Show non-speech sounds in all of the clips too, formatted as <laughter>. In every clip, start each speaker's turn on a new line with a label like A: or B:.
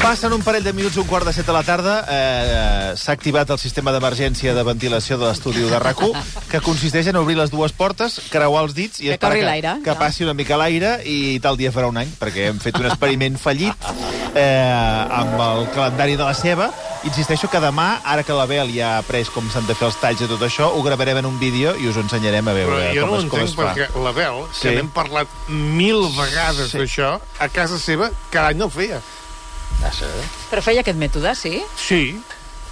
A: Passen un parell de minuts, un quart de set de la tarda. Eh, eh, S'ha activat el sistema d'emergència de ventilació de l'estudi de rac que consisteix en obrir les dues portes, creuar els dits i
B: Que
A: esperar
B: corri
A: que,
B: l'aire,
A: que
B: ja.
A: passi una mica l'aire i tal dia farà un any, perquè hem fet un experiment fallit eh, amb el calendari de la ceba. Insisteixo que demà, ara que l'Abel ja ha après com s'han de fer els talls i tot això, ho gravarem en un vídeo i us ho ensenyarem a
C: Però
A: veure
C: jo
A: com,
C: no ho
A: es, com
C: entenc
A: es fa.
C: perquè l'Abel,
A: Sí.
C: que n'hem parlat mil vegades
A: Sí.
C: d'això, a casa seva cada any el feia.
B: Però feia aquest mètode, sí?
C: Sí.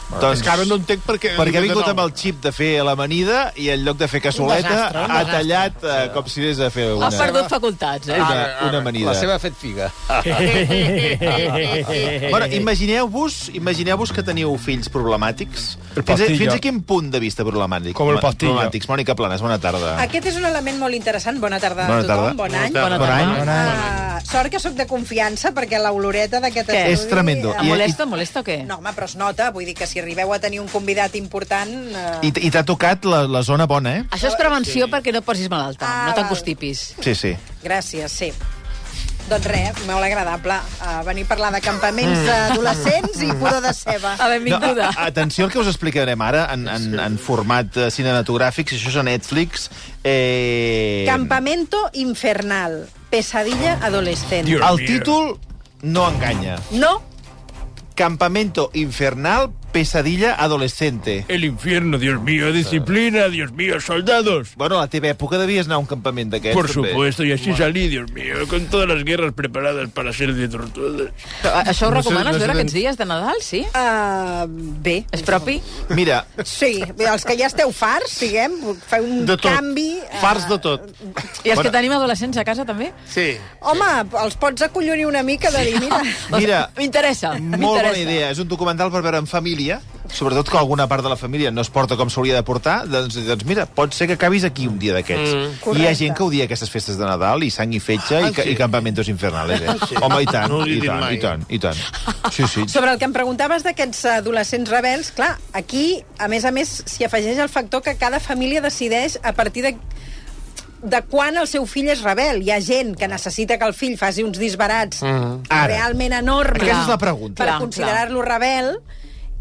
A: Doncs-
C: Doncs... És que ara no entenc perquè...
A: Perquè ha vingut amb el xip de fer l'amanida i en lloc de fer cassoleta
B: desastre, un
A: ha
B: desastre.
A: tallat eh, com si anés a fer una, Ah.
B: Ha perdut facultats, eh?
A: una,
C: Ara, ara.
A: una amanida.
D: Ah, La seva ha fet figa.
A: <laughs> Bueno, imagineu-vos imagineu que teniu fills problemàtics. Fins a,
E: Pastillo.
A: fins a quin punt de vista problemàtic?
E: Com el Pastillo.
A: Problemàtics. Mònica Planes, bona tarda.
F: Aquest és un element molt interessant. Bona tarda
A: Bona
F: a tothom,
A: tarda.
F: bon any.
B: Bona tarda.
E: Bona
F: Ah, sort que sóc de confiança, perquè l'oloreta d'aquest
B: Què?
F: estudi...
A: És tremendo.
F: eh,
B: Ah,
A: I-
B: Molesta, molesta o què?
F: No, home, però es nota. Vull dir que si arribeu a tenir un convidat important...
A: I,
F: Eh...
A: t- i t'ha tocat la, la zona bona, eh?
B: Això és prevenció perquè no et posis malalta,
F: Ah,
B: no
F: val.
B: t'acostipis.
A: Sí, sí.
F: Gràcies, sí. Doncs res, molt agradable eh, venir a parlar de campaments d'adolescents i pudor de ceba.
B: A benvinguda.
A: a- atenció al que us explicarem ara en, en, en format eh, cinematogràfic, si això és a Netflix. Eh...
F: Campamento infernal. Pesadilla adolescente.
A: El títol no enganya.
F: No
A: Campamento infernal, pesadilla adolescente.
E: El infierno, Dios mío, disciplina, Dios mío, soldados.
A: Bueno, a la teva època devies anar a un campament d'aquests.
E: Por
A: també.
E: supuesto, y así salí, Dios mío, con todas las guerras preparadas para ser de tortugas.
B: Però a- això ho
C: No sé,
B: recomanes
C: no sé
B: veure
C: ben-
B: aquests dies de Nadal, sí?
F: Uh, bé.
B: És propi?
A: Mira,
F: Sí, bé, els que ja esteu farts, diguem, feu un
C: De tot.
F: canvi... eh,
C: Farts de tot.
B: I els
A: Bueno.
B: que tenim adolescents a casa, també?
C: Sí.
F: Home, els pots acollonir una mica de dir, mira...
A: Mira,
B: M'interessa,
A: molt
B: Ah, m'interessa.
A: bona idea. És un documental per veure en família, sobretot que alguna part de la família no es porta com s'hauria de portar, doncs, doncs mira, pot ser que acabis aquí un dia d'aquests. Mm. Hi ha
F: Correcte.
A: gent que odia aquestes festes de Nadal, i sang i fetge,
C: Ah,
A: i, ca- i campamentos infernales. Eh? Home, i tant,
C: No ho he
A: i
C: dit
A: tant,
C: mai.
A: i tant, i tant. Sí,
F: <laughs>
A: sí. <laughs>
F: Sobre el que em preguntaves d'aquests adolescents rebels, clar, aquí, a més a més, s'hi afegeix el factor que cada família decideix a partir de de quan el seu fill és rebel. Hi ha gent que necessita que el fill faci uns disbarats
A: Mm. Ara.
F: realment enormes
A: Aquesta és la pregunta.
F: per
B: Clar,
F: considerar-lo rebel,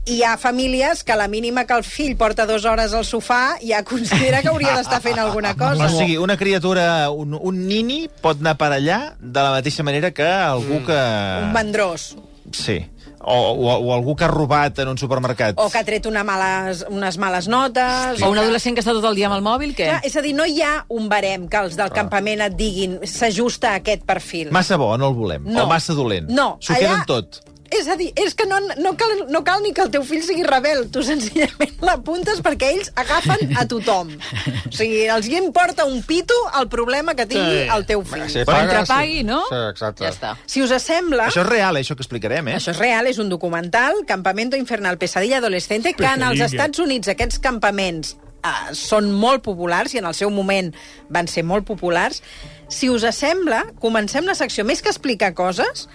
F: i hi ha famílies que la mínima que el fill porta dues hores al sofà ja <laughs> considera que hauria d'estar fent alguna cosa.
A: Ah, O sigui, una criatura, un, un nini, pot anar per allà de la mateixa manera que algú que...
F: Mm. Un mandrós.
A: Sí. O, o, o algú que ha robat en un supermercat.
F: O que ha tret una males, unes males notes...
B: O un
F: que-
B: adolescent que està tot el dia amb el mòbil, què?
F: Clar, és a dir, no hi ha un barem que els del
A: Ah.
F: campament et diguin s'ajusta a aquest perfil.
A: Massa bo, no el volem.
F: No.
A: O massa dolent.
F: No,
A: S'ho
F: allà-
A: queden tot.
F: És a dir, és que no, no, cal, no cal ni que el teu fill sigui rebel. Tu senzillament <laughs> l'apuntes perquè ells agafen a tothom. O sigui, els hi importa un pito el problema que tingui
C: Sí.
F: el teu fill.
D: Si
B: Però
D: paga,
B: mentre
D: sí.
B: pagui, no?
D: Sí, exacte.
B: Ja està.
F: Si us sembla...
A: Això és real, eh, això que explicarem, eh?
F: Això és real, és un documental, Campamento Infernal Pesadilla Adolescente, que en els
E: Pesadilla.
F: Estats Units aquests campaments eh, són molt populars i en el seu moment van ser molt populars. Si us sembla, comencem la secció més que explicar coses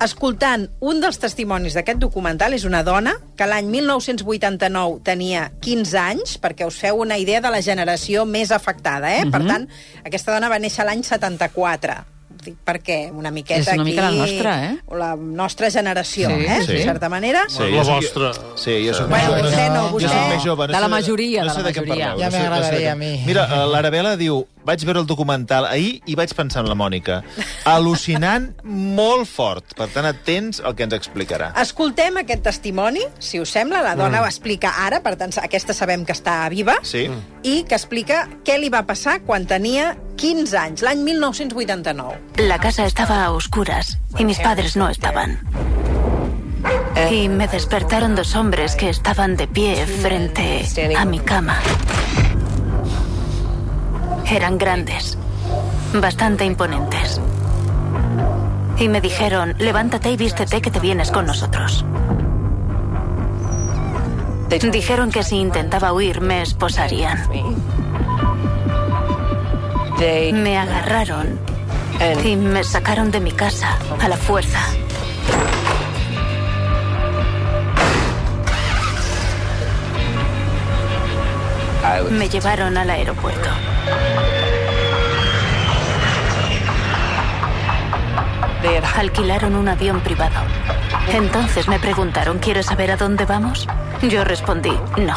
F: escoltant un dels testimonis d'aquest documental és una dona que l'any 1989 tenia 15 anys, perquè us feu una idea de la generació més afectada, eh?
B: Mhm.
F: Per tant, aquesta dona va néixer l'any 74. Dic, perquè una miqueta
B: És una
F: aquí...
B: mica la nostra, eh?
F: La nostra generació,
B: Sí,
F: eh?
A: sí.
F: En certa manera.
A: Sí,
C: La
A: jo soc-
C: vostra.
A: Sí, jo soc...
F: Bueno, vostè no,
A: Jo soc
F: vostè...
A: més jove. No
B: De la
A: sé
B: majoria,
A: no
B: de
A: sé
B: la
A: què
B: majoria.
A: parleu,
B: Ja
A: no sé- no sé de
D: m'agradaria
A: què-
D: a mi.
A: Mira, eh, l'Arabella diu... Vaig veure el documental ahir i vaig pensar en la Mònica. Al·lucinant molt fort. Per tant, atents al que ens explicarà.
F: Escoltem aquest testimoni, si us sembla. La dona mm. ho explica ara, per tant, aquesta sabem que està viva.
A: Sí?
F: I que explica què li va passar quan tenia 15 anys, l'any 1989.
G: La casa estaba a oscuras y mis padres no estaban. Y me despertaron dos hombres que estaban de pie frente a mi cama. Eran grandes, bastante imponentes. Y me dijeron, levántate y vístete que te vienes con nosotros. Dijeron que si intentaba huir me esposarían. Me agarraron y me sacaron de mi casa a la fuerza. Me llevaron al aeropuerto. Alquilaron un avión privado. Entonces me preguntaron, ¿quieres saber a dónde vamos? Yo respondí, no,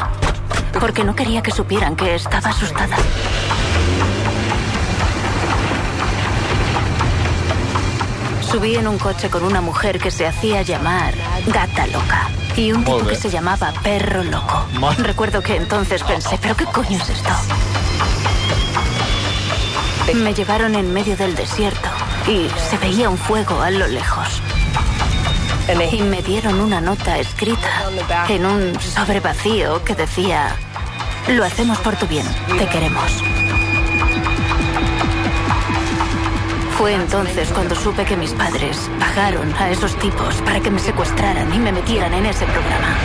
G: porque no quería que supieran que estaba asustada. Subí en un coche con una mujer que se hacía llamar Gata Loca y un tipo
A: Molt bé.
G: que se llamaba Perro Loco.
A: Molt-
G: Recuerdo que entonces pensé, ¿pero qué coño es esto? Me llevaron en medio del desierto y se veía un fuego a lo lejos. Y me dieron una nota escrita en un sobre vacío que decía, lo hacemos por tu bien, te queremos. Fue entonces cuando supe que mis padres pagaron a esos tipos para que me secuestraran y me metieran en ese programa.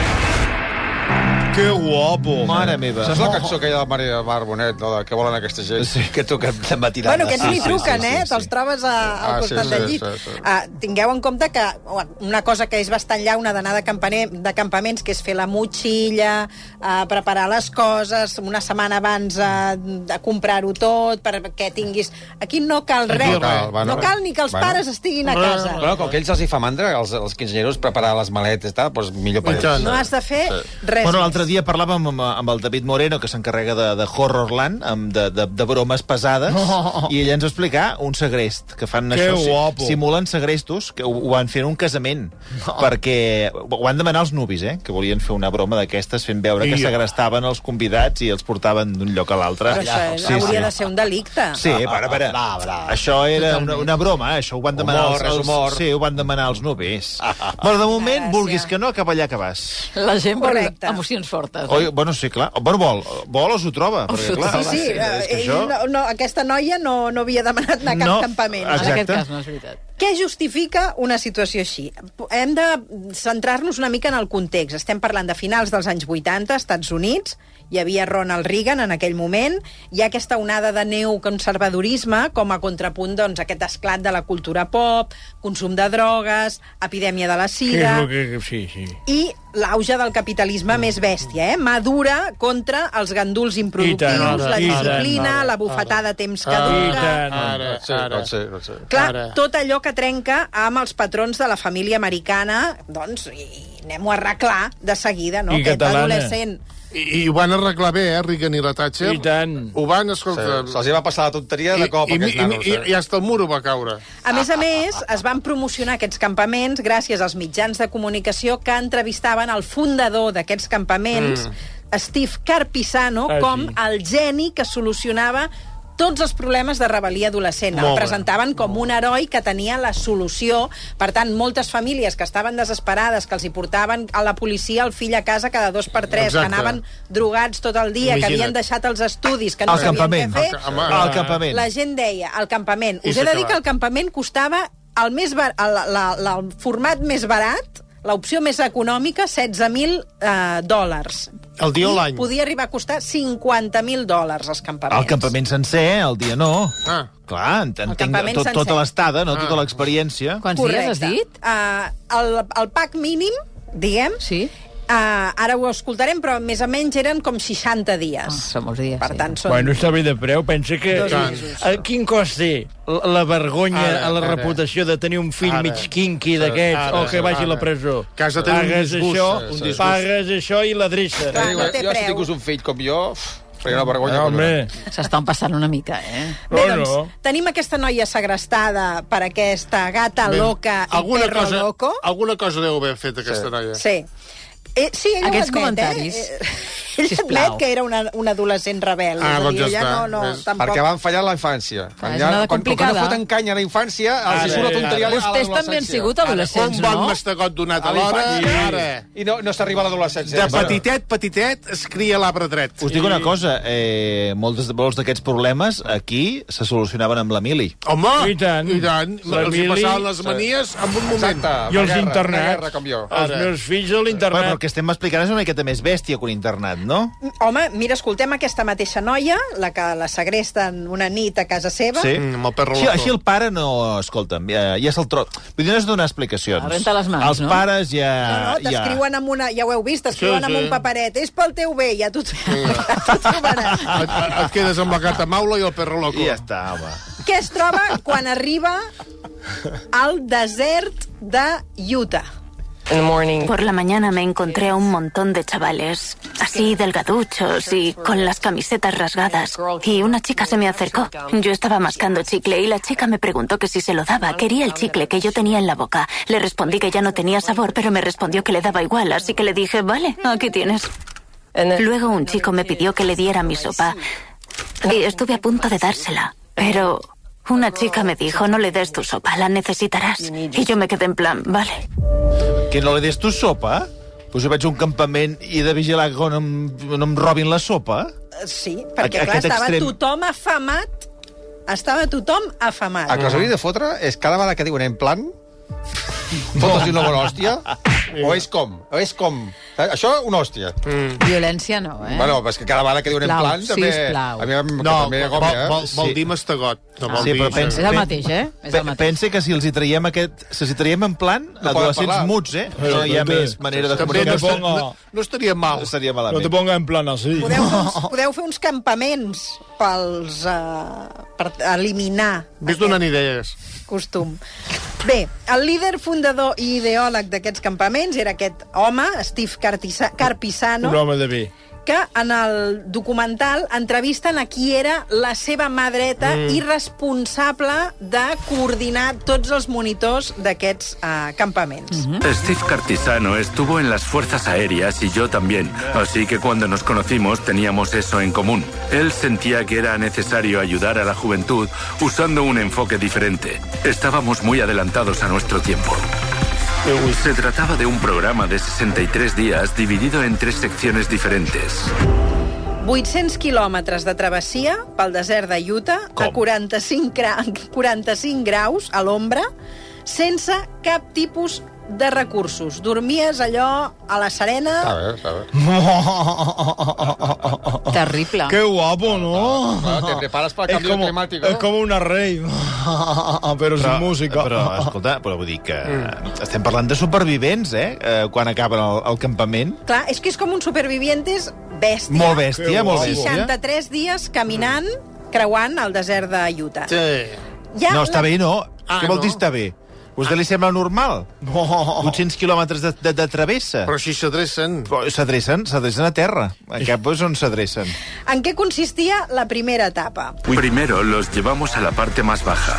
D: Que guapo!
A: Mare meva.
D: Saps la cançó aquella de Mari Mar Bonet, no? de què volen aquesta gent? Sí. Que toquen de matinada.
F: Bueno, aquests ni truquen, eh? Te'ls trobes a, al
D: Ah, sí,
F: costat
D: sí,
F: del llit.
D: sí, sí.
F: Ah, tingueu en compte que bueno, una cosa que és bastant llauna d'anar de, campaner, de campaments, que és fer la motxilla, ah, preparar les coses, una setmana abans ah, de comprar-ho tot, perquè tinguis... Aquí no cal res.
D: no cal, bueno.
F: no cal ni que els
D: Bueno.
F: pares estiguin a casa.
D: Bueno, com que ells els hi fa mandra, els, els quinceanyeros, preparar les maletes, tal, doncs millor per ells.
F: No has de fer res
A: Bueno,
F: més.
A: l'altre dia parlàvem amb, amb el David Moreno, que s'encarrega de, de Horrorland, amb de, de, de bromes pesades,
C: No.
A: i ell ens va explicar un segrest, que fan
C: Que
A: això, si-
C: guapo.
A: simulen segrestos, que ho, ho van fer en un casament, perquè ho van demanar els nuvis, eh, que volien fer una broma d'aquestes, fent veure que
C: I-
A: segrestaven els convidats i els portaven d'un lloc a l'altre.
F: Però això és,
A: Sí, sí.
F: hauria de ser un delicte.
A: Sí, eh, para, para.
D: Ah, brava.
A: Això era una, una broma, eh? això ho van demanar
D: Humor,
A: els,
D: és
A: els,
D: humor.
A: Sí, ho van demanar els nuvis. Però de moment,
F: Gràcies.
A: vulguis que no, cap allà que vas.
B: La gent per
F: Correcte.
B: emocions fortes.
A: Oi, bueno, sí, clar. Bueno, vol, vol o s'ho troba. Perquè,
B: s'ho
A: clar,
F: Sí,
B: troba,
F: sí,
A: és
F: eh,
A: que això...
F: ell no, no, aquesta noia no, no havia demanat anar a cap
A: No,
F: campament. eh?
B: en
A: exacte.
B: aquest cas no és veritat.
F: Què justifica una situació així? Hem de centrar-nos una mica en el context. Estem parlant de finals dels anys 80, Estats Units, hi havia Ronald Reagan en aquell moment, hi ha aquesta onada de neoconservadorisme com a contrapunt doncs, a aquest esclat de la cultura pop, consum de drogues, epidèmia de la
E: Que és
F: sida...
E: lo que... Sí, sí.
F: I l'auge del capitalisme més bèstia, eh? Madura contra els ganduls improductius,
E: I tant, ara,
F: la
E: i tant,
F: disciplina,
E: ara,
F: la bufetada a temps que
E: I
F: dura...
E: tant.
C: Ah,
D: Ara, sí, doncs- ara. Pot ser, pot ser.
F: Clar,
C: Ara.
F: tot allò que trenca amb els patrons de la família americana, doncs, i, i anem-ho a arreglar de seguida, no?
E: I
F: Aquest
E: catalana.
F: adolescent...
C: I, I ho van arreglar bé, eh, Reagan i la Thatcher.
E: I tant.
C: Ho van, escolta...
D: Sí, Se'ls hi va passar la tonteria de cop,
C: I, i,
D: aquests
C: i,
D: nanos.
C: i,
D: eh?
C: i, hasta el muro va caure.
F: A més a més, es van promocionar aquests campaments gràcies als mitjans de comunicació que entrevistaven el fundador d'aquests campaments,
C: Mm.
F: Steve Carpisano,
E: Ah, sí.
F: com el geni que solucionava tots els problemes de rebel·lia adolescent. El
C: Molt bé.
F: presentaven com un heroi que tenia la solució. Per tant, moltes famílies que estaven desesperades, que els hi portaven a la policia el fill a casa cada dos per tres,
C: Exacte.
F: que anaven drogats tot el dia, que
C: Imagina't.
F: havien deixat els estudis, que no
A: Al
F: sabien què
A: campament.
F: fer...
C: Al ca-
A: Al campament.
F: La gent deia, al campament.
C: I
F: Us he de dir
C: s'acaba.
F: que el campament costava el, més bar... el, la, la, el format més barat, l'opció més econòmica, 16.000 eh, dòlars.
C: El dia o
F: I
C: l'any?
F: Podia arribar a costar 50.000 dòlars els campaments.
A: El campament sencer, eh, el dia no.
C: Ah.
A: Clar, ent- entenc
F: campament
A: tot,
F: sencer. Ah.
A: tota l'estada, no? tota l'experiència.
B: Quants dies has dit?
F: Uh, el, el pack mínim, diguem,
B: Sí.
F: uh, ara ho escoltarem, però més o menys eren com 60
B: Ah,
F: dies.
B: són molts dies.
F: per tant,
E: Són...
F: són...
E: Bueno, està bé de preu. Pensa que...
F: Dos
E: A quin cost té la, la vergonya,
C: Ara,
E: ara, la
C: ara.
E: reputació de tenir un fill
C: Ara.
E: ara. mig quinqui d'aquests
C: Ara,
E: o que vagi a la
C: ara.
E: presó?
C: Que has de tenir un
E: pagues
C: disgust,
E: Això,
C: sí,
E: un
C: sí. eh,
E: disgust. Pagues això i l'adreça.
F: Clar, no té
D: jo, si
F: preu.
D: tingués un fill com jo, uf, faria una vergonya.
E: Home,
B: S'estan passant una mica, eh?
F: Bé,
E: no,
F: doncs,
E: no.
F: tenim aquesta noia segrestada per aquesta gata
C: Ben,
F: loca i perro
C: cosa,
F: loco.
C: Alguna cosa deu haver fet aquesta noia.
F: Sí. Eh, sí, ell
B: Aquests
F: ho admet,
B: comentaris,
F: Eh? Eh, Ell
B: sisplau.
F: admet que era una, un adolescent rebel.
C: Ah,
F: és a
C: doncs
F: dir, ella
C: ja està.
F: no, no,
C: Ves.
F: tampoc...
D: Perquè van fallar la infància.
B: Clar, és
D: Fallar-
B: una de
D: quan, com que
B: complicada.
D: no foten canya a la infància, els hi
E: Ara,
D: surt la tonteria
E: ara.
D: a
B: Vostès
D: l'adolescència.
B: també han sigut
C: Un
B: adolescents,
C: bon
B: no?
C: mastegot donat a
D: A
C: l'hora.
D: l'infantil.
C: Ara.
D: I no, no s'arriba a l'adolescència.
C: De petitet, petitet, es cria l'arbre dret.
A: Us dic una cosa, eh, molts, molts d'aquests problemes aquí se solucionaven amb l'Emili.
C: Home!
E: I tant.
C: I tant.
E: La
C: Els hi
E: Mili-
C: passaven les manies en un moment.
D: Exacte.
E: I els
D: una guerra,
E: internats.
D: una Guerra, com jo.
E: Els
C: Ara.
E: meus fills a
A: Però el
E: l'internat.
A: que estem explicant és una miqueta més bèstia que un internat, no?
F: Home, mira, escoltem aquesta mateixa noia, la que la segresten una nit a casa seva.
A: Sí.
C: Mm, amb el perro
A: Eh, Així,
C: loco.
A: així el pare no... Escolta'm, ja, ja se'l troba... Vull dir, no és donar explicacions.
B: Arrenta les mans,
A: Els
B: no?
A: pares ja...
F: No, no, t'escriuen amb una... Ja ho heu vist, t'escriuen
C: Ah, Sí,
F: amb
C: sí.
F: un paperet. És pel teu bé, ja t'ho <laughs> ja t'ho trobaràs.
C: Et, <laughs> et quedes amb la gata maula i el perro loco.
A: Ja, ja està, home.
F: Què es troba quan arriba al desert de Utah?
G: Por la mañana me encontré a un montón de chavales, así delgaduchos y con las camisetas rasgadas. Y una chica se me acercó. Yo estaba mascando chicle y la chica me preguntó que si se lo daba. Quería el chicle que yo tenía en la boca. Le respondí que ya no tenía sabor, pero me respondió que le daba igual, así que le dije, vale, aquí tienes. Luego un chico me pidió que le diera mi sopa y estuve a punto de dársela, pero una chica me dijo, no le des tu sopa, la necesitarás. Y yo me quedé en plan, vale.
A: Que no li des tu sopa? Pues jo vaig a un campament i he de vigilar que no em, no em robin la sopa.
F: Eh, Sí, perquè
A: Aqu-
F: clar,
A: aquest
F: estava
A: extrem.
F: tothom afamat. Estava tothom afamat.
D: El que us hauria de fotre és cada vegada que diuen en plan... Fotos-hi una bona hòstia? O és com? O és com? Saps? Això, una hòstia.
C: Mm.
B: Violència no, eh?
D: Bueno, però és que cada vegada que diuen en
B: Sisplau,
D: plan... També,
B: sisplau.
D: a mi em- que
C: No,
D: també
C: vol,
D: agobia, eh?
C: vol, vol
A: Sí.
C: dir mastegot. No
B: Ah.
C: vol
A: Sí,
C: dir...
A: però pensa-
B: és el mateix, eh? És
A: Pe
B: el mateix.
A: pensa que si els hi traiem aquest... Si els hi traiem en plan,
D: No poden
A: adolescents
D: parlar.
A: muts, eh? No hi ha més manera de
C: També no,
A: comunicar-se.
C: estaria, no, no estaria mal.
A: No Seria
H: No te
A: malament.
H: ponga en plan así.
F: Podeu fer, uns, podeu fer uns campaments pels, uh, per eliminar
C: Ves donant idees.
F: costum. Bé, el líder fundador i ideòleg d'aquests campaments era aquest home, Steve Cartisa- Carpisano,
H: Un home de bé.
F: que en el documental entrevisten a qui era la seva mà dreta mm. i responsable de coordinar tots els monitors d'aquests uh, campaments. Mm -hmm.
I: Steve Cartisano estuvo en las fuerzas aéreas y yo también, así que cuando nos conocimos teníamos eso en común. Él sentía que era necesario ayudar a la juventud usando un enfoque diferente. Estábamos muy adelantados a nuestro tiempo. Se trataba de un programa de 63 días dividido en tres secciones diferentes.
F: 800 quilòmetres de travessia pel desert de Utah a 45, gra 45 graus a l'ombra, sense cap tipus de recursos. Dormies allò a la serena...
D: A veure, a veure.
C: oh,
B: Terrible.
H: Qué guapo, ¿no?
D: Claro, te preparas para
H: es
D: el cambio
H: como,
D: climático.
E: eh,
H: Es como una rave. Pero sin música. Mm.
A: Però, escolta, però vull dir que... Estem parlant de supervivents, eh? eh quan acaben el, el campament.
F: Clar, és que és com un supervivientes bèstia.
A: Molt bèstia,
H: Que
A: molt
H: guapo.
A: bèstia. Mm.
F: 63 dies caminant, creuant el desert de Utah.
C: Sí.
F: Ja
A: No, està bé, no.
C: Ah,
A: Què vol
C: no?
A: dir està bé? A vostè li sembla normal? 800 quilòmetres de, de, de travessa.
C: Però si s'adrecen...
A: Però S'adrecen, s'adrecen a terra. En cap és on s'adrecen.
F: En què consistia la primera etapa?
I: Primero los llevamos a la parte más baja.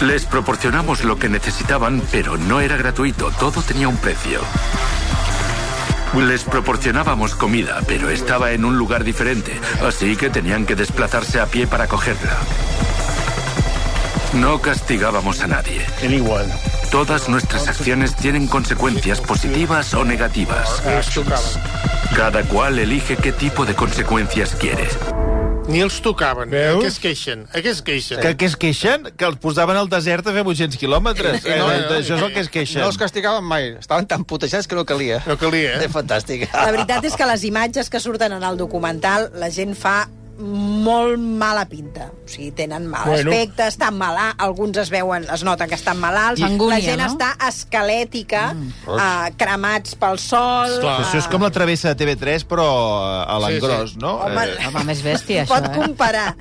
I: Les proporcionamos lo que necesitaban, pero no era gratuito, todo tenía un precio. Les proporcionábamos comida, pero estaba en un lugar diferente, así que tenían que desplazarse a pie para cogerla. No castigábamos a nadie.
H: El igual.
I: Todas nuestras acciones tienen consecuencias positivas o negativas.
H: Ah,
C: Els tocaven.
I: Cada cual elige qué tipo de consecuencias quiere.
C: Ni els tocaven.
H: Veus?
C: A què es queixen? A què es queixen?
A: Que, que es queixen? Que els posaven al desert a fer 800 quilòmetres. Eh,
D: no,
A: eh,
D: no,
A: això és el que es queixen.
D: No els castigaven mai. Estaven tan putejats que no calia.
C: No calia, eh?
D: És fantàstic.
F: La veritat és que les imatges que surten en el documental la gent fa molt mala pinta. O sigui, tenen mal bueno.
H: Bueno.
F: aspecte, estan malalt, alguns es veuen, es nota que estan malalts,
B: Angúnia,
F: la gent
B: no?
F: està esquelètica, mm. eh, cremats pel sol...
A: Però això és com la travessa de TV3, però eh, a l'engròs,
C: Sí,
A: no?
F: Home,
A: Eh,
B: Home, més bèstia, això,
F: pot
B: eh?
F: comparar.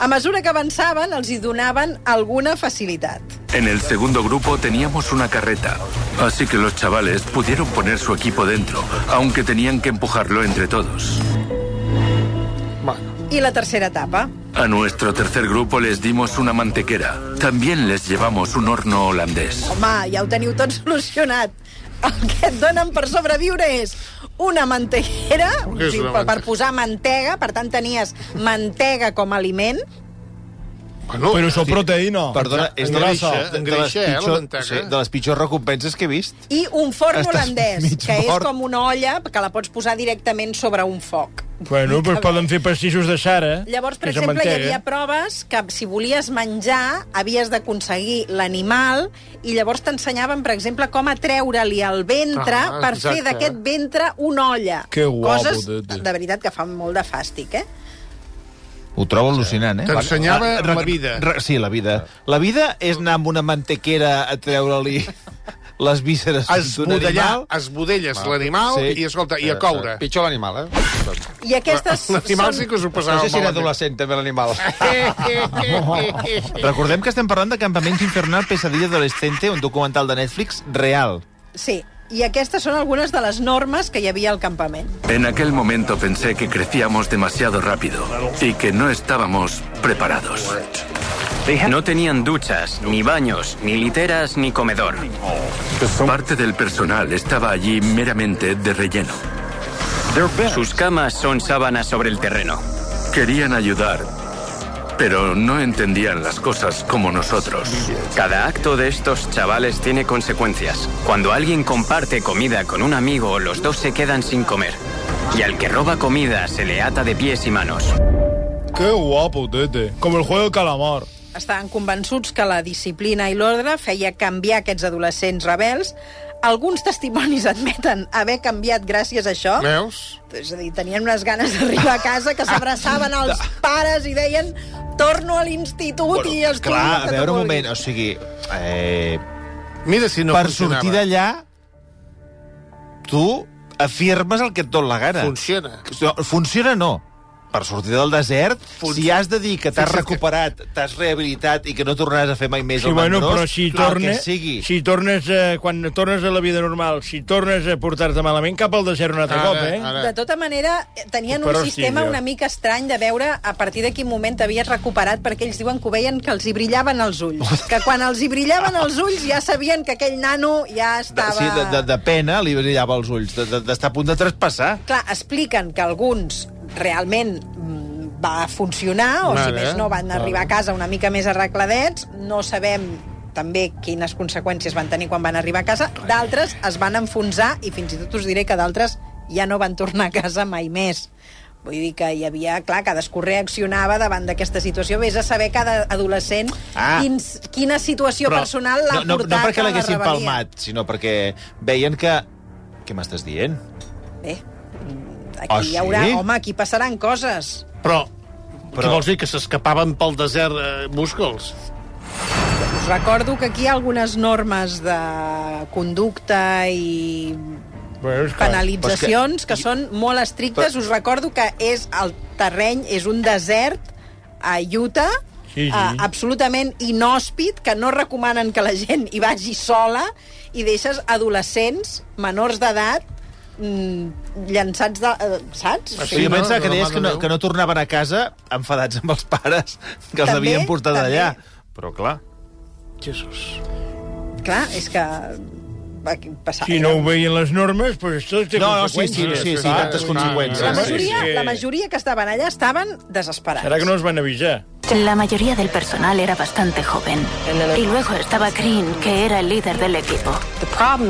F: A mesura que avançaven, els hi donaven alguna facilitat.
I: En el segundo grupo teníamos una carreta, así que los chavales pudieron poner su equipo dentro, aunque tenían que empujarlo entre todos.
F: I la tercera etapa.
I: A nuestro tercer grupo les dimos una mantequera. También les llevamos un horno holandés.
F: Home, ja ho teniu tot <laughs> solucionat. El que et donen per sobreviure és una manteguera, o
C: Què és
F: sigui,
C: una
F: per, per
C: mante-
F: posar mantega, per tant tenies mantega com a aliment,
C: Bueno,
H: Pero eso es proteína.
A: Perdona, és de les,
C: Engreixa,
A: de, de, les
C: engreixa, eh, la
A: pitjor,
C: mantega.
A: sí, de les pitjors recompenses que he vist.
F: i un forn
A: Estàs
F: holandès,
A: mig
F: que és
A: mort.
F: com una olla que la pots posar directament sobre un foc.
H: Bueno, pues poden fer pastissos de
E: eh?
H: Sara.
F: Llavors, per
H: que se
F: exemple, hi
H: mantega.
F: havia proves que si volies menjar havies d'aconseguir l'animal i llavors t'ensenyaven, per exemple, com atreure-li el ventre
C: Ah,
F: ah, per
C: exacte.
F: fer d'aquest ventre una olla.
H: Que guapo,
F: Coses,
H: tete.
F: de veritat, que fan molt de fàstic, eh?
A: Ho trobo al·lucinant, eh?
C: T'ensenyava
A: Ah, re-
C: la vida.
A: Re, sí, la vida. La vida és anar amb una mantequera a treure-li les vísceres d'un
C: Esbudellar,
A: animal...
C: esbudelles l'animal
A: Sí.
C: i, escolta, i a coure.
D: Pitjor l'animal, eh?
F: I aquestes
C: L'animal
F: són...
C: sí que us ho
D: No
C: passava
D: sé si era
C: malament.
D: adolescent, també,
C: <laughs>
D: l'animal.
A: <laughs> Recordem que estem parlant de Campamento Infernal Pesadilla Adolescente, un documental de Netflix real.
F: Sí, i aquestes són algunes de les normes que hi havia al campament.
I: En aquel momento pensé que crecíamos demasiado rápido y que no estábamos preparados.
J: No tenían duchas, ni baños, ni literas, ni comedor.
I: Parte del personal estaba allí meramente de relleno.
J: Sus camas son sábanas sobre el terreno.
I: Querían ayudar, pero no entendían las cosas como nosotros.
J: Cada acto de estos chavales tiene consecuencias. Cuando alguien comparte comida con un amigo, los dos se quedan sin comer. Y al que roba comida se le ata de pies y manos.
H: Qué guapo, Tete. Como el juego de calamar.
F: Estaven convençuts que la disciplina i l'ordre feia canviar aquests adolescents rebels. Alguns testimonis admeten haver canviat gràcies a això.
C: Veus?
F: És a dir, tenien unes ganes d'arribar a casa que s'abraçaven
A: <laughs>
F: als pares i deien torno a l'institut i estudio
A: Clar,
F: el
A: a
F: que tu
A: veure un
F: vulguis".
A: moment, o sigui... Eh,
C: Mira si no
A: no per
C: funcionava.
A: sortir d'allà, tu afirmes el que et dona la gana.
C: Funciona.
A: No, Funciona no. Per sortir del desert,
C: Fun-
A: si has de dir que t'has
C: Fixa't que-
A: recuperat, t'has rehabilitat i que no tornaràs a fer mai més
E: Sí,
A: el
E: bueno,
A: mandrós,
E: però si
A: el
E: tornes,
A: que sigui.
E: si tornes a, quan tornes a la vida normal, si tornes a portar-te malament, cap al desert un altre
C: Ara,
E: cop, eh?
C: ara.
F: De tota manera, eh, tenien
E: Però
F: un
E: sí,
F: sistema
E: jo.
F: una mica estrany de veure a partir de quin moment t'havies recuperat, perquè ells diuen que ho veien que els hi brillaven els
A: Oh.
F: ulls. Que quan els hi brillaven els ulls ja sabien que aquell nano ja
A: De,
F: estava...
A: sí, de, de, de pena li brillava els ulls, de- de- d'estar a punt de traspassar.
F: clar, expliquen que alguns realment mm, va funcionar, o si
C: Vale,
F: més no van
C: vale.
F: arribar a casa una mica més arregladets, no sabem també quines conseqüències van tenir quan van arribar a casa, d'altres es van enfonsar i fins i tot us diré que d'altres ja no van tornar a casa mai més. Vull dir que hi havia, clar, cadascú reaccionava davant d'aquesta situació. Vés a saber cada adolescent
A: Ah.
F: quins, quina situació personal l'ha
A: no, no,
F: portat
A: no perquè
F: a la
A: l'haguessin
F: rebel·lia.
A: palmat, sinó perquè veien que... Què m'estàs dient?
F: Bé, mm, aquí
A: Ah,
F: hi haurà...
A: sí?
F: Home, aquí passaran coses.
C: Però,
A: Però-
C: però... Què vols dir, que s'escapaven pel desert eh, busca'ls?
F: Us recordo que aquí hi ha algunes normes de conducta i
E: Bueno, és clar.
F: penalitzacions que, són molt estrictes. Us recordo que és el terreny és un desert a Utah,
E: Sí, sí.
F: eh, absolutament inhòspit, que no recomanen que la gent hi vagi sola i deixes adolescents menors d'edat mm, llançats de... Eh, saps?
C: Ah,
A: Sí, sí,
C: Sí,
A: jo
C: no?
A: pensava que
C: De la
A: deies
C: mà
A: que
C: de
A: no,
C: Déu.
A: que no tornaven a casa enfadats amb els pares que els
F: També,
A: havien portat
F: també.
A: allà. Però clar,
C: Jesús.
F: Clar, és que... aquí Passava,
E: Si no ho veien les normes, doncs tot té
A: No, no, sí,
E: conseqüències. eh,
A: sí, sí, sí,
E: clar.
A: tantes conseqüències.
F: la,
A: Sí,
F: majoria,
E: sí.
F: la majoria que estaven allà estaven desesperats.
E: eh? Serà que no es van avisar?
G: La mayoría del personal era bastante joven. Y luego estaba Green, que era el líder del equipo.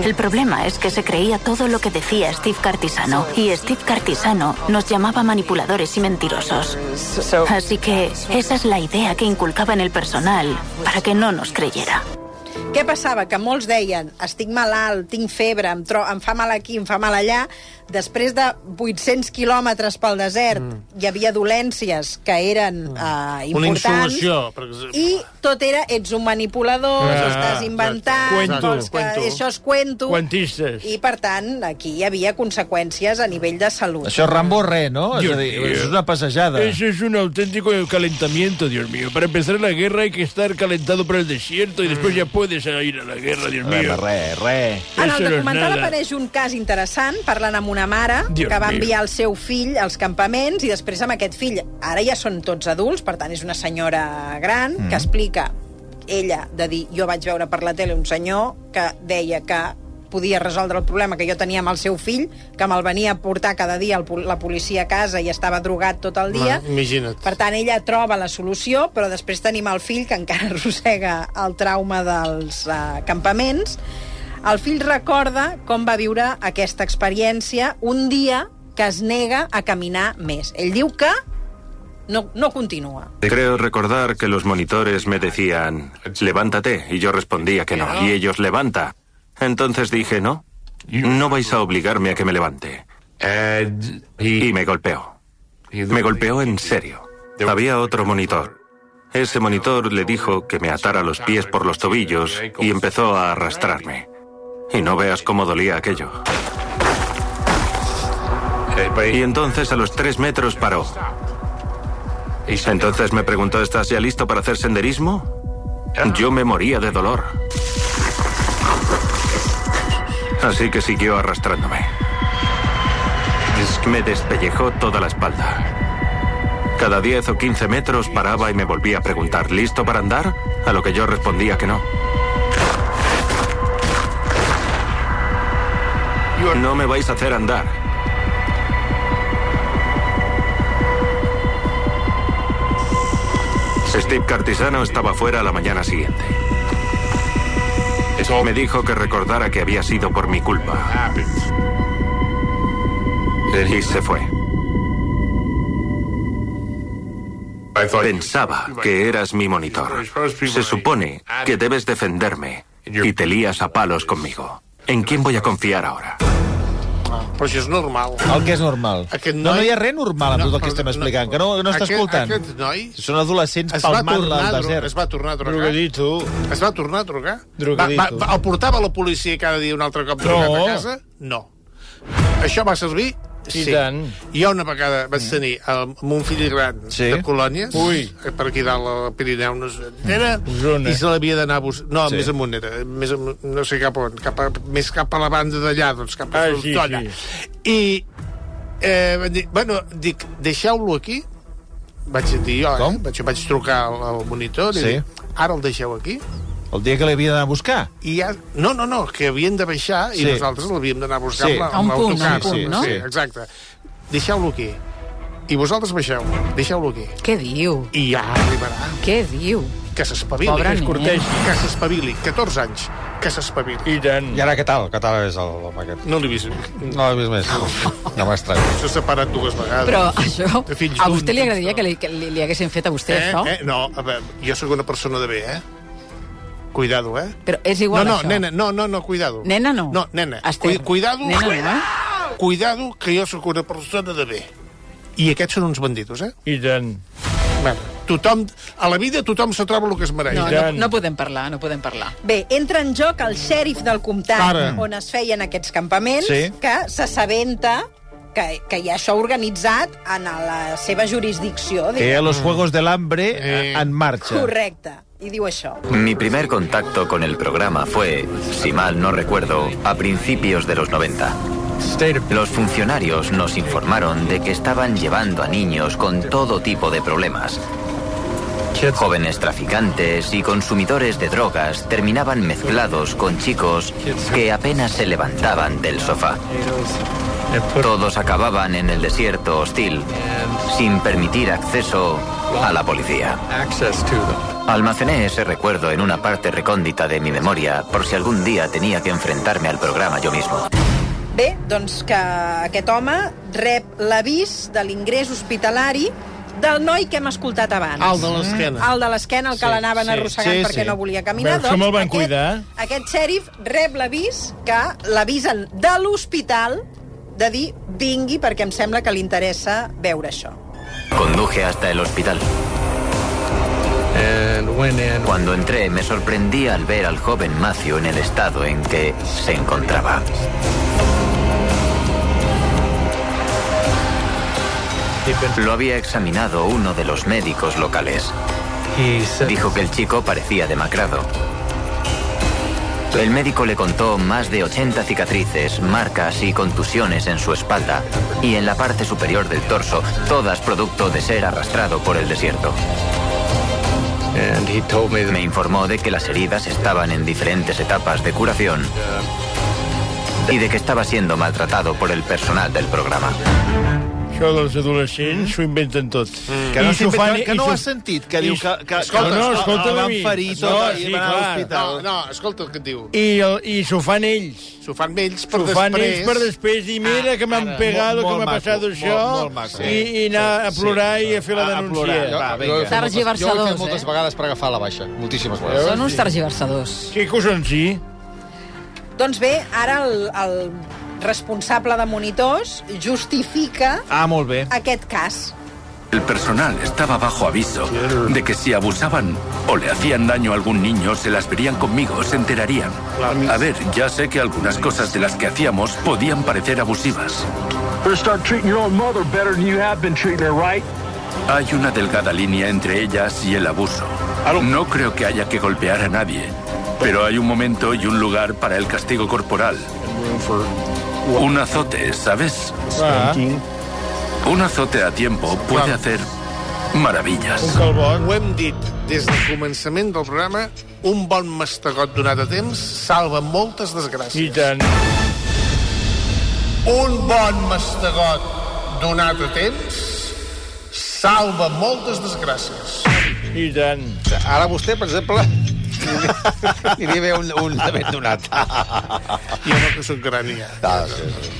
G: El problema es que se creía todo lo que decía Steve Cartisano. Y Steve Cartisano nos llamaba manipuladores y mentirosos. Así que esa es la idea que inculcaba en el personal para que no nos creyera.
F: Què passava? Que molts deien, estic malalt, tinc febre, em, tro em fa mal aquí, em fa mal allà. Després de 800 quilòmetres pel desert mm. hi havia dolències que eren mm. uh,
C: Una
F: importants.
C: insolació, per exemple.
F: I tot era, ets un manipulador,
E: Ah,
F: ah, estàs
E: exacte.
F: inventant,
E: Cuento.
F: vols que
C: Cuento.
F: això és cuento.
E: Quantistes.
F: I, per tant, aquí hi havia conseqüències a nivell de salut.
A: això Rambo re, no? És,
E: Dios
A: a dir,
E: mío.
A: és una passejada.
E: Eso es un auténtico calentamiento, Dios mío. Para empezar la guerra hay que estar calentado por el desierto y
A: Mm.
E: después ya puedes ir a la guerra, Dios
A: Re,
E: mío.
A: re, re.
F: En
E: Eso
F: el
E: no es
F: documental
E: nada.
F: apareix un cas interessant parlant amb una mare
E: Dios
F: que va
E: mío.
F: enviar el seu fill als campaments i després amb aquest fill, ara ja són tots adults, per tant és una senyora gran mm. que explica ella de dir jo vaig veure per la tele un senyor que deia que podia resoldre el problema que jo tenia amb el seu fill, que me'l venia a portar cada dia el, pol- la policia a casa i estava drogat tot el dia.
C: Ma, imagina't.
F: Per tant, ella troba la solució, però després tenim el fill que encara <laughs> arrossega el trauma dels uh, campaments. El fill recorda com va viure aquesta experiència un dia que es nega a caminar més. Ell diu que no, no continua.
I: Creo recordar que los monitores me decían, levántate, y yo respondía que no, y ellos levanta. Entonces dije, no, no vais a obligarme a que me levante.
C: Eh,
I: Y me golpeó. Me golpeó en serio. Había otro monitor. Ese monitor le dijo que me atara los pies por los tobillos y empezó a arrastrarme. Y no veas cómo dolía aquello. Y entonces a los tres metros paró. Entonces me preguntó, ¿estás ya listo para hacer senderismo? Yo me moría de dolor. Así que siguió arrastrándome. Me despellejó toda la espalda. Cada 10 o 15 metros paraba y me volvía a preguntar, ¿listo para andar? A lo que yo respondía que no. No me vais a hacer andar. Steve Cartisano estaba fuera a la mañana siguiente. Me dijo que recordara que había sido por mi culpa. Y se fue. Pensaba que eras mi monitor. Se supone que debes defenderme y te lías a palos conmigo. ¿En quién voy a confiar ahora?
C: Però això és Pues normal.
A: El que és normal.
C: Aquest
A: No,
C: noi-
A: no hi ha res normal amb
C: No,
A: tot el que
C: però
A: estem
C: no-
A: explicant, que no, no està
C: aquest-
A: escoltant.
C: aquest noi-
A: Són adolescents
C: Es va,
A: palmant
C: tornar,
A: al
C: a dro-
A: desert. Eh?
C: es ¿eh? va tornar a trucar.
A: Drogadito.
C: Es va tornar a trucar?
A: Drogadito.
C: Va, va, va, el portava la policia cada dia un altre cop trucat
A: No.
C: a casa? No. Això va servir? Sí.
H: tant.
C: Jo una vegada vaig tenir el, amb un fill gran
H: Sí.
C: de colònies, eh,
H: Ui.
C: per aquí dalt al Pirineu, no sé, era,
H: Osona.
C: i se l'havia d'anar a buscar. No,
H: Sí.
C: sí. més amunt era, més amunt, no sé cap on, cap a, més cap a la banda d'allà, doncs cap a
E: Ah,
C: ah,
E: sí,
C: Tortolla.
E: sí.
C: I eh, van dir, bueno, dic, deixeu-lo aquí, vaig dir jo, eh? vaig, vaig trucar al, al monitor i
A: Sí.
C: sí. dic, ara el deixeu aquí?
A: El dia que l'havia d'anar a buscar.
C: I ja... No, no, no, que havien de baixar sí.
A: Sí.
C: i nosaltres l'havíem d'anar a buscar
A: Sí.
C: sí.
A: A un
C: amb
A: punt, a
C: l'autocar.
A: un punt, no?
C: Sí, exacte. Deixeu-lo aquí. I vosaltres baixeu. Deixeu-lo aquí.
B: Què diu?
C: I ja arribarà.
B: Què diu?
C: Que s'espavili.
B: Pobre
C: Que
B: nen.
C: Que s'espavili. 14 anys. Que s'espavili. I tant.
D: I ara què tal? Què tal és el home aquest?
C: No l'he vist.
D: No l'he vist més. Ja m'ha estranyat.
C: S'ha separat dues vegades.
B: Però això,
C: Fills
B: a
C: d'un,
B: vostè li
C: fills
B: agradaria que li, que li, li haguessin fet a vostè,
C: eh,
B: això?
C: eh, no, a veure, jo sóc una persona de bé, eh? Cuidado, eh?
B: Però és igual,
C: no, no,
B: això.
C: Nena, no, no, no, cuidado.
B: Nena, no.
C: No, nena.
B: Esther.
C: Cu- Cuidado.
B: Nena, no, eh?
C: Cuidado, que jo sóc una persona de bé. I aquests són uns bandidos, eh?
E: I tant.
C: Bueno, tothom, a la vida tothom se troba el que es mereix.
B: No, no, no podem parlar, no podem parlar.
F: Bé, entra en joc el xèrif del comtat
C: Ara.
F: on es feien aquests campaments,
A: Sí.
F: que s'assabenta que, que hi ha això organitzat en la seva jurisdicció.
A: Que hi ha
F: diguem.
A: los Juegos del Hambre eh. en marxa.
F: Correcte. I diu això.
K: Mi primer contacto con el programa fue, si mal no recuerdo, a principios de los 90. Los funcionarios nos informaron de que estaban llevando a niños con todo tipo de problemas. Jóvenes traficantes y consumidores de drogas terminaban mezclados con chicos que apenas se levantaban del sofá. Todos acababan en el desierto hostil, sin permitir acceso a la policía. Almacené ese recuerdo en una parte recóndita de mi memoria por si algún día tenía que enfrentarme al programa yo mismo.
F: Bé, doncs que aquest home rep l'avís de l'ingrés hospitalari del noi que hem escoltat abans.
C: El de l'esquena.
F: Mm. El de l'esquena, el que
C: Sí,
F: l'anaven
C: sí,
F: arrossegant
C: sí,
F: perquè
C: sí.
F: no volia caminar. doncs
E: Veus com el van cuidar?
F: Aquest xèrif rep l'avís que l'avisen de l'hospital de dir vingui perquè em sembla que li interessa veure això.
K: Conduje hasta el hospital. Cuando entré me sorprendí al ver al joven Matthew en el estado en que se encontraba. Lo había examinado uno de los médicos locales. Dijo que el chico parecía demacrado. El médico le contó más de 80 cicatrices, marcas y contusiones en su espalda y en la parte superior del torso, todas producto de ser arrastrado por el desierto. Me informó de que las heridas estaban en diferentes etapas de curación y de que estaba siendo maltratado por el personal del programa.
E: Mm. Això dels adolescents s'ho inventen tot.
A: Mm. Que no,
E: I s'ho
A: s'inventa-
E: fan-
A: que
E: i
A: no ho
E: s'ho-
A: has sentit, que diu
E: i-
A: que, que,
E: Escolta,
A: que
E: no,
A: el-
E: escolta'm
A: el
E: a mi.
A: van ferir
E: No,
A: tot
E: sí,
A: i van a
E: clar.
A: l'hospital.
C: No, no, escolta el que et diu.
E: I, el, i s'ho fan ells.
C: S'ho fan ells per
E: S'ho fan
C: després.
E: ells per després dir, mira que m'han
C: ara.
E: pegat,
A: Ah, Molt-
E: que m'ha
A: molt
E: passat
A: maco,
E: això,
A: molt- molt maco.
E: i, i anar a plorar i a fer la
A: A- a
E: denúncia.
C: eh,
A: plorar, va, vinga.
D: Jo,
B: Targi
D: jo ho he fet
B: Barcelós,
D: moltes
B: eh?
D: vegades per agafar la baixa. Moltíssimes vegades.
B: Són uns tergiversadors.
E: Sí, que ho són, sí.
F: Doncs bé, ara el, el responsable de monitors justifica
A: Ah, molt bé.
F: aquest cas.
I: El personal estaba bajo aviso de que si abusaban o le hacían daño a algún niño, se las verían conmigo, se enterarían. A ver, ya sé que algunas cosas de las que hacíamos podían parecer abusivas.
L: Better start treating your own mother better than you have been treating her, right?
I: Hay una delgada línea entre ellas y el abuso. No creo que haya que golpear a nadie, pero hay un momento y un lugar para el castigo corporal. Un azote, ¿sabes?
H: Ah.
I: Un azote a tiempo puede hacer maravillas.
C: Un calbot. Ho hem dit des del començament del programa, un bon mastegot donat a temps salva moltes desgràcies. I
E: tant.
C: Un bon mastegot donat a temps salva moltes desgràcies.
E: I tant.
D: Ara vostè, per exemple, li li ve un, un de ben donat.
C: Jo no que sóc gran ja.
D: Ah, sí, sí.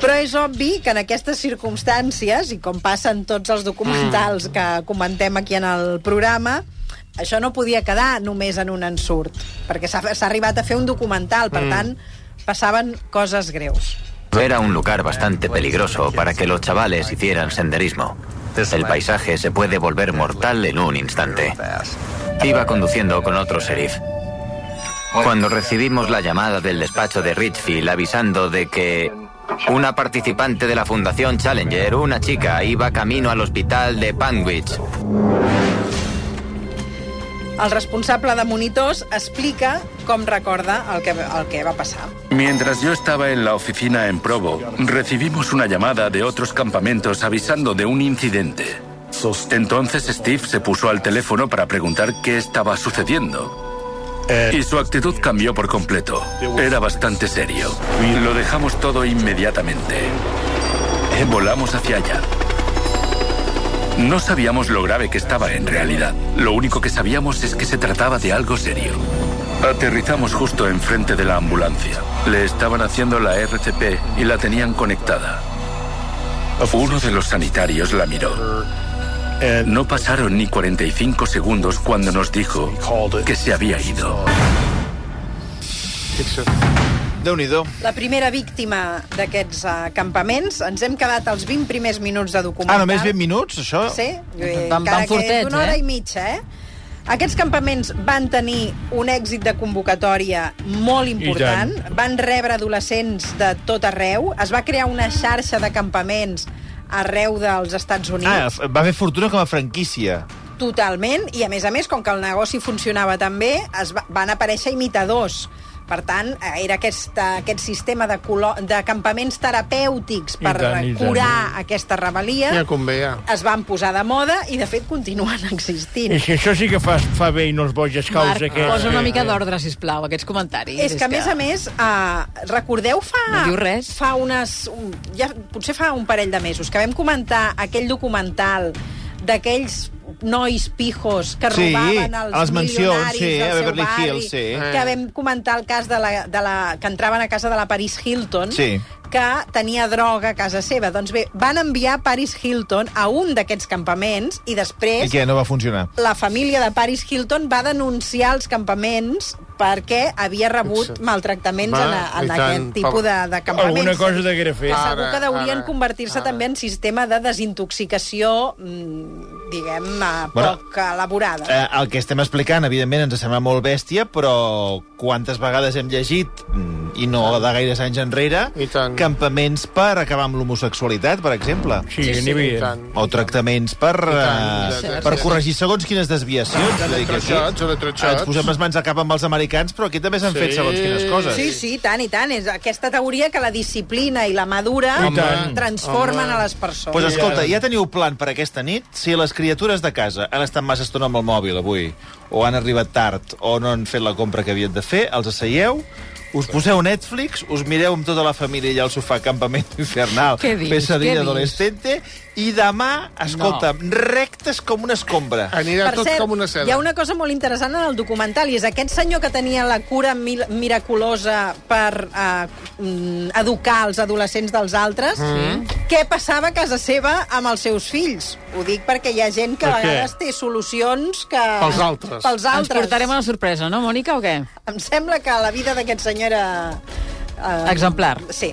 F: Però és obvi que en aquestes circumstàncies, i com passen tots els documentals
A: Mm.
F: que comentem aquí en el programa, això no podia quedar només en un ensurt, perquè s'ha s'ha arribat a fer un documental,
A: Mm.
F: per tant, passaven coses greus.
K: Era un lugar bastante peligroso para que los chavales hicieran senderismo. El paisaje se puede volver mortal en un instante. Iba conduciendo con otro sheriff. Cuando recibimos la llamada del despacho de Richfield avisando de que una participante de la Fundación Challenger, una chica, iba camino al hospital de Panwich.
F: El responsable de monitors explica com recorda el que, el que va passar.
I: Mientras yo estaba en la oficina en Provo, recibimos una llamada de otros campamentos avisando de un incidente. Entonces Steve se puso al teléfono para preguntar qué estaba sucediendo. Y su actitud cambió por completo. Era bastante serio. Lo dejamos todo inmediatamente. Eh, Volamos hacia allá. No sabíamos lo grave que estaba en realidad. Lo único que sabíamos es que se trataba de algo serio. Aterrizamos justo enfrente de la ambulancia. Le estaban haciendo la RCP y la tenían conectada. Uno de los sanitarios la miró. No pasaron ni 45 segundos cuando nos dijo que se había ido.
A: déu nhi
F: La primera víctima d'aquests eh, campaments, ens hem quedat als 20 primers minuts de documental.
A: Ah, només 20 minuts, això?
F: Sí, eh,
B: Van- van
F: encara que és
B: fortets,
F: d'una hora
B: eh?
F: i mitja, eh? Aquests campaments van tenir un èxit de convocatòria molt important. Van rebre adolescents de tot arreu. Es va crear una xarxa de campaments arreu dels Estats Units.
A: Ah, f- va fer fortuna com a franquícia.
F: Totalment, i a més a més, com que el negoci funcionava també, es va, van aparèixer imitadors. Per tant, eh, era aquest, aquest sistema de, colo, de campaments terapèutics per
C: I tant, i tant.
F: curar aquesta rebel·lia.
C: Ja convé, ja.
F: Es van posar de moda i, de fet, continuen existint.
E: És que això sí que fa, fa bé i no els boges caus
B: Marc,
E: aquests.
B: posa una mica d'ordre, sisplau, aquests comentaris.
F: És que, a més a més, eh, recordeu fa...
B: No diu res.
F: Fa unes... Un, ja, potser fa un parell de mesos que vam comentar aquell documental d'aquells nois pijos que
A: Sí,
F: robaven els
A: a les mansions,
F: milionaris
A: sí,
F: del
A: a
F: seu
A: Beverly
F: barri,
A: Hills, sí.
F: que vam comentar el cas de la, de la, que entraven a casa de la Paris Hilton,
A: Sí.
F: que tenia droga a casa seva. Doncs bé, van enviar Paris Hilton a un d'aquests campaments i després
A: I què, no va funcionar?
F: la família de Paris Hilton va denunciar els campaments perquè havia rebut maltractaments
E: Va,
F: en, a- en
E: i tant,
F: aquest tipus de, de campaments.
E: Alguna cosa de grafé.
F: Segur que deurien convertir-se també en sistema de desintoxicació, mm, diguem, eh,
A: Bueno.
F: poc elaborada.
A: Eh, el que estem explicant, evidentment, ens sembla molt bèstia, però quantes vegades hem llegit, mm, i
E: Ah.
A: no de gaires anys enrere, campaments per acabar amb l'homosexualitat, per exemple.
E: Sí, Sí, sí, n'hi havia. i tant,
A: O tractaments per,
E: tant, i
A: eh,
E: tant.
A: per corregir segons quines desviacions. Vull dir que aquí
C: electroxots, electroxots.
A: Ens posem les mans al cap amb els americans, però aquí també s'han fet segons quines coses.
F: Sí, sí, tant i tant. És aquesta teoria que la disciplina i la madura
A: I tant.
F: transformen
A: Home.
F: a les persones.
A: Pues escolta, ja teniu plan per aquesta nit? Si les criatures de casa han estat massa estona amb el mòbil avui, o han arribat tard, o no han fet la compra que havien de fer, els asseieu, us poseu Netflix, us mireu amb tota la família allà al sofà Campament <laughs> Infernal,
B: Què dius? Què
A: Pesadilla
B: dius?
A: Adolescente, i demà, escolta'm, no. rectes com una escombra.
F: Per cert, hi ha una cosa molt interessant en el documental, i és aquest senyor que tenia la cura mil miraculosa per eh, mm, educar els adolescents dels altres,
B: Mm.
F: què passava a casa seva amb els seus fills? Ho dic perquè hi ha gent que
B: Per
F: a
B: què?
F: vegades té solucions que...
B: Pels altres.
F: Pels
B: Ens
F: altres.
B: portarem una sorpresa, no, Mònica, o què?
F: Em sembla que la vida d'aquest senyor era... eh,
B: Exemplar.
F: Sí.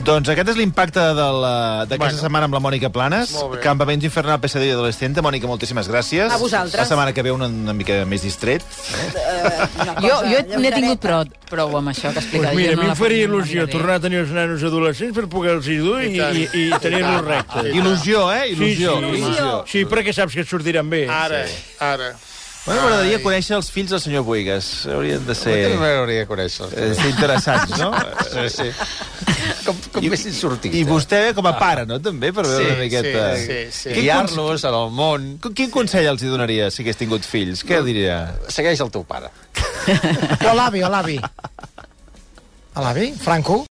A: Doncs aquest és l'impacte de la- d'aquesta
C: Bueno.
A: bueno. setmana amb la Mònica Planes.
C: Molt bé.
A: Campaments Infernal Pesadilla Adolescente. Mònica, moltíssimes gràcies.
F: A vosaltres.
A: La setmana que ve una, una mica més distret.
F: Eh,
B: Jo, jo n'he tingut prou, prou amb això que explica.
E: Pues Doncs mira, a mi em faria il·lusió tornar a tenir els nanos adolescents per poder-los hi dur eh? i, i, i tenir-los rectes.
A: Il·lusió, eh? Il·lusió,
E: Sí, sí.
A: il·lusió.
E: sí, perquè saps que et sortiran bé.
C: Ara,
E: Sí.
C: ara.
A: Bueno, m'agradaria conèixer els fills del senyor Buigas. Haurien de ser...
D: també m'agradaria conèixer.
A: Eh, ser interessants, no?
D: <laughs> Sí, sí. Com, com més sortit.
A: I vostè, com a pare, no?, també, per veure
D: eh? Sí,
A: una miqueta...
D: sí, sí, sí.
A: Quin
D: Guiar-los
A: conse-
D: al món.
A: Quin consell els hi donaria si hagués tingut fills? Què diria?
D: Segueix el teu pare.
E: <laughs>
M: O l'avi, o l'avi. A l'avi? Franco?